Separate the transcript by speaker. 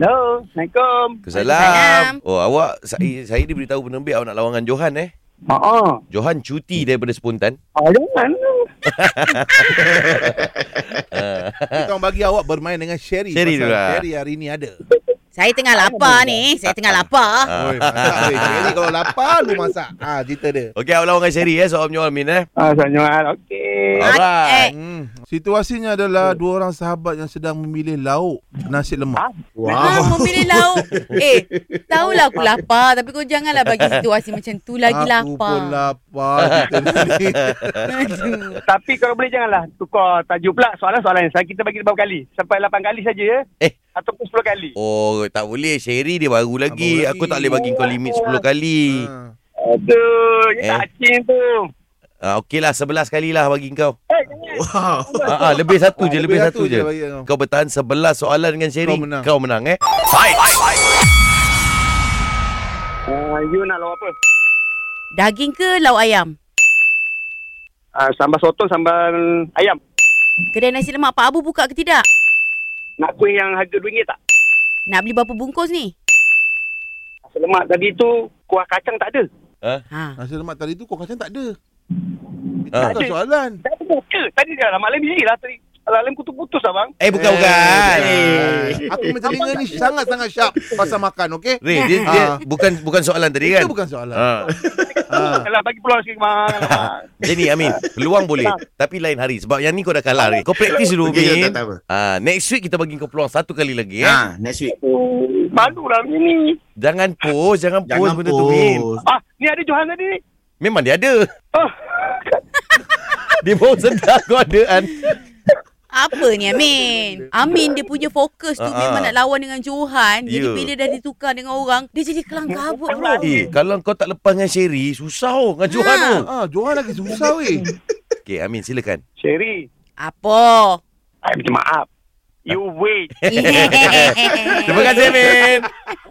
Speaker 1: Hello, Assalamualaikum.
Speaker 2: Kesalam. Oh, awak saya saya diberitahu penerbit awak nak lawangan Johan eh.
Speaker 1: Ha
Speaker 2: Johan cuti daripada spontan.
Speaker 1: ah. jangan.
Speaker 3: Kita orang bagi awak bermain dengan Sherry.
Speaker 2: Sherry dulu
Speaker 3: pasal
Speaker 2: lah.
Speaker 3: Sherry hari ni ada.
Speaker 4: Saya tengah lapar ni. Saya tengah lapar.
Speaker 2: Ah.
Speaker 3: Oi, masak. Oi, Sherry kalau lapar lu masak. Ah, cerita dia.
Speaker 2: Okey, awak lawangan Sherry eh soal menyoal Min eh.
Speaker 1: Ah, Assalamualaikum. Okey.
Speaker 4: Ah, eh,
Speaker 3: Hmm. Situasinya adalah dua orang sahabat yang sedang memilih lauk nasi lemak.
Speaker 4: ah, memilih lauk. Eh, tahulah aku lapar. Tapi kau janganlah bagi situasi macam tu lagi
Speaker 3: Aku pun
Speaker 4: lapar.
Speaker 3: lapar. Kita ni.
Speaker 4: Aduh.
Speaker 1: Tapi kalau boleh janganlah tukar tajuk pula soalan-soalan yang saya kita bagi berapa kali? Sampai 8 kali saja ya.
Speaker 2: Eh.
Speaker 1: Ataupun 10 kali.
Speaker 2: Oh, tak boleh Sherry dia baru lagi.
Speaker 3: Baru lagi.
Speaker 2: Aku tak boleh bagi kau limit 10 kali.
Speaker 3: Ah.
Speaker 1: Aduh,
Speaker 2: Eh.
Speaker 1: eh. tak acing tu.
Speaker 2: Ah, okeylah 11 kali lah bagi kau.
Speaker 1: Eh, jangan.
Speaker 3: Ha.
Speaker 5: Wow.
Speaker 2: Ah, ah, lebih satu
Speaker 3: Ah,
Speaker 2: je, lebih satu je.
Speaker 3: bagi kau.
Speaker 2: Kau bertahan 11 soalan dengan Sherry.
Speaker 3: Kau menang.
Speaker 2: Kau menang eh.
Speaker 1: Ah, you nak lawan apa?
Speaker 4: Daging ke lauk ayam?
Speaker 1: Ah, sambal sotong, sambal ayam.
Speaker 4: Kedai nasi lemak Pak Abu buka ke tidak?
Speaker 1: Nak kuih yang harga RM2 tak?
Speaker 4: Nak beli berapa bungkus ni?
Speaker 1: Nasi lemak tadi tu kuah kacang tak ada.
Speaker 4: Ha.
Speaker 3: Nasi lemak tadi tu kau kacang tak ada. Itu
Speaker 2: Ah.
Speaker 3: bukan soalan.
Speaker 1: Tak ada buka. Tadi dah lah. Malam biji lah. Tadi. Alam kutu-putus abang.
Speaker 2: Eh, bukan bukan. Eh.
Speaker 3: Aku punya telinga ni sangat-sangat sharp pasal makan, okey?
Speaker 2: Ray, dia, dia
Speaker 3: Ah.
Speaker 2: bukan bukan soalan tadi kan?
Speaker 3: Itu bukan soalan.
Speaker 2: Ah.
Speaker 3: Ah.
Speaker 1: Alah, bagi peluang sikit bang.
Speaker 2: Jadi Amin, peluang boleh tapi lain hari sebab yang ni kau dah kalah Ray. Kau practice dulu
Speaker 5: Okey,
Speaker 2: Amin.
Speaker 5: tak- tak apa.
Speaker 2: Ah, next week kita bagi kau peluang satu kali lagi eh.
Speaker 5: Ha, next week.
Speaker 1: Oh, Malulah macam ni.
Speaker 2: Jangan post, jangan, post
Speaker 5: Jangan
Speaker 2: benda tu Min.
Speaker 5: post.
Speaker 1: Ah, ni ada Johan tadi ni.
Speaker 2: Memang dia ada.
Speaker 1: Ah,
Speaker 2: Dia baru sedar kau ada kan.
Speaker 4: Apa ni Amin? Amin dia punya fokus tu
Speaker 2: Ah,
Speaker 4: memang
Speaker 2: ah.
Speaker 4: nak lawan dengan Johan. Jadi
Speaker 2: Ya.
Speaker 4: bila dah ditukar dengan orang, dia jadi kelang kabut bro.
Speaker 2: Eh, kalau kau tak lepas dengan Sherry, susah oh dengan Johan
Speaker 4: Ha.
Speaker 2: tu.
Speaker 3: Ah, Johan lagi susah weh.
Speaker 2: Okey, Amin silakan.
Speaker 1: Sherry,
Speaker 4: Apa?
Speaker 1: I minta maaf. You wait.
Speaker 2: Terima kasih Amin.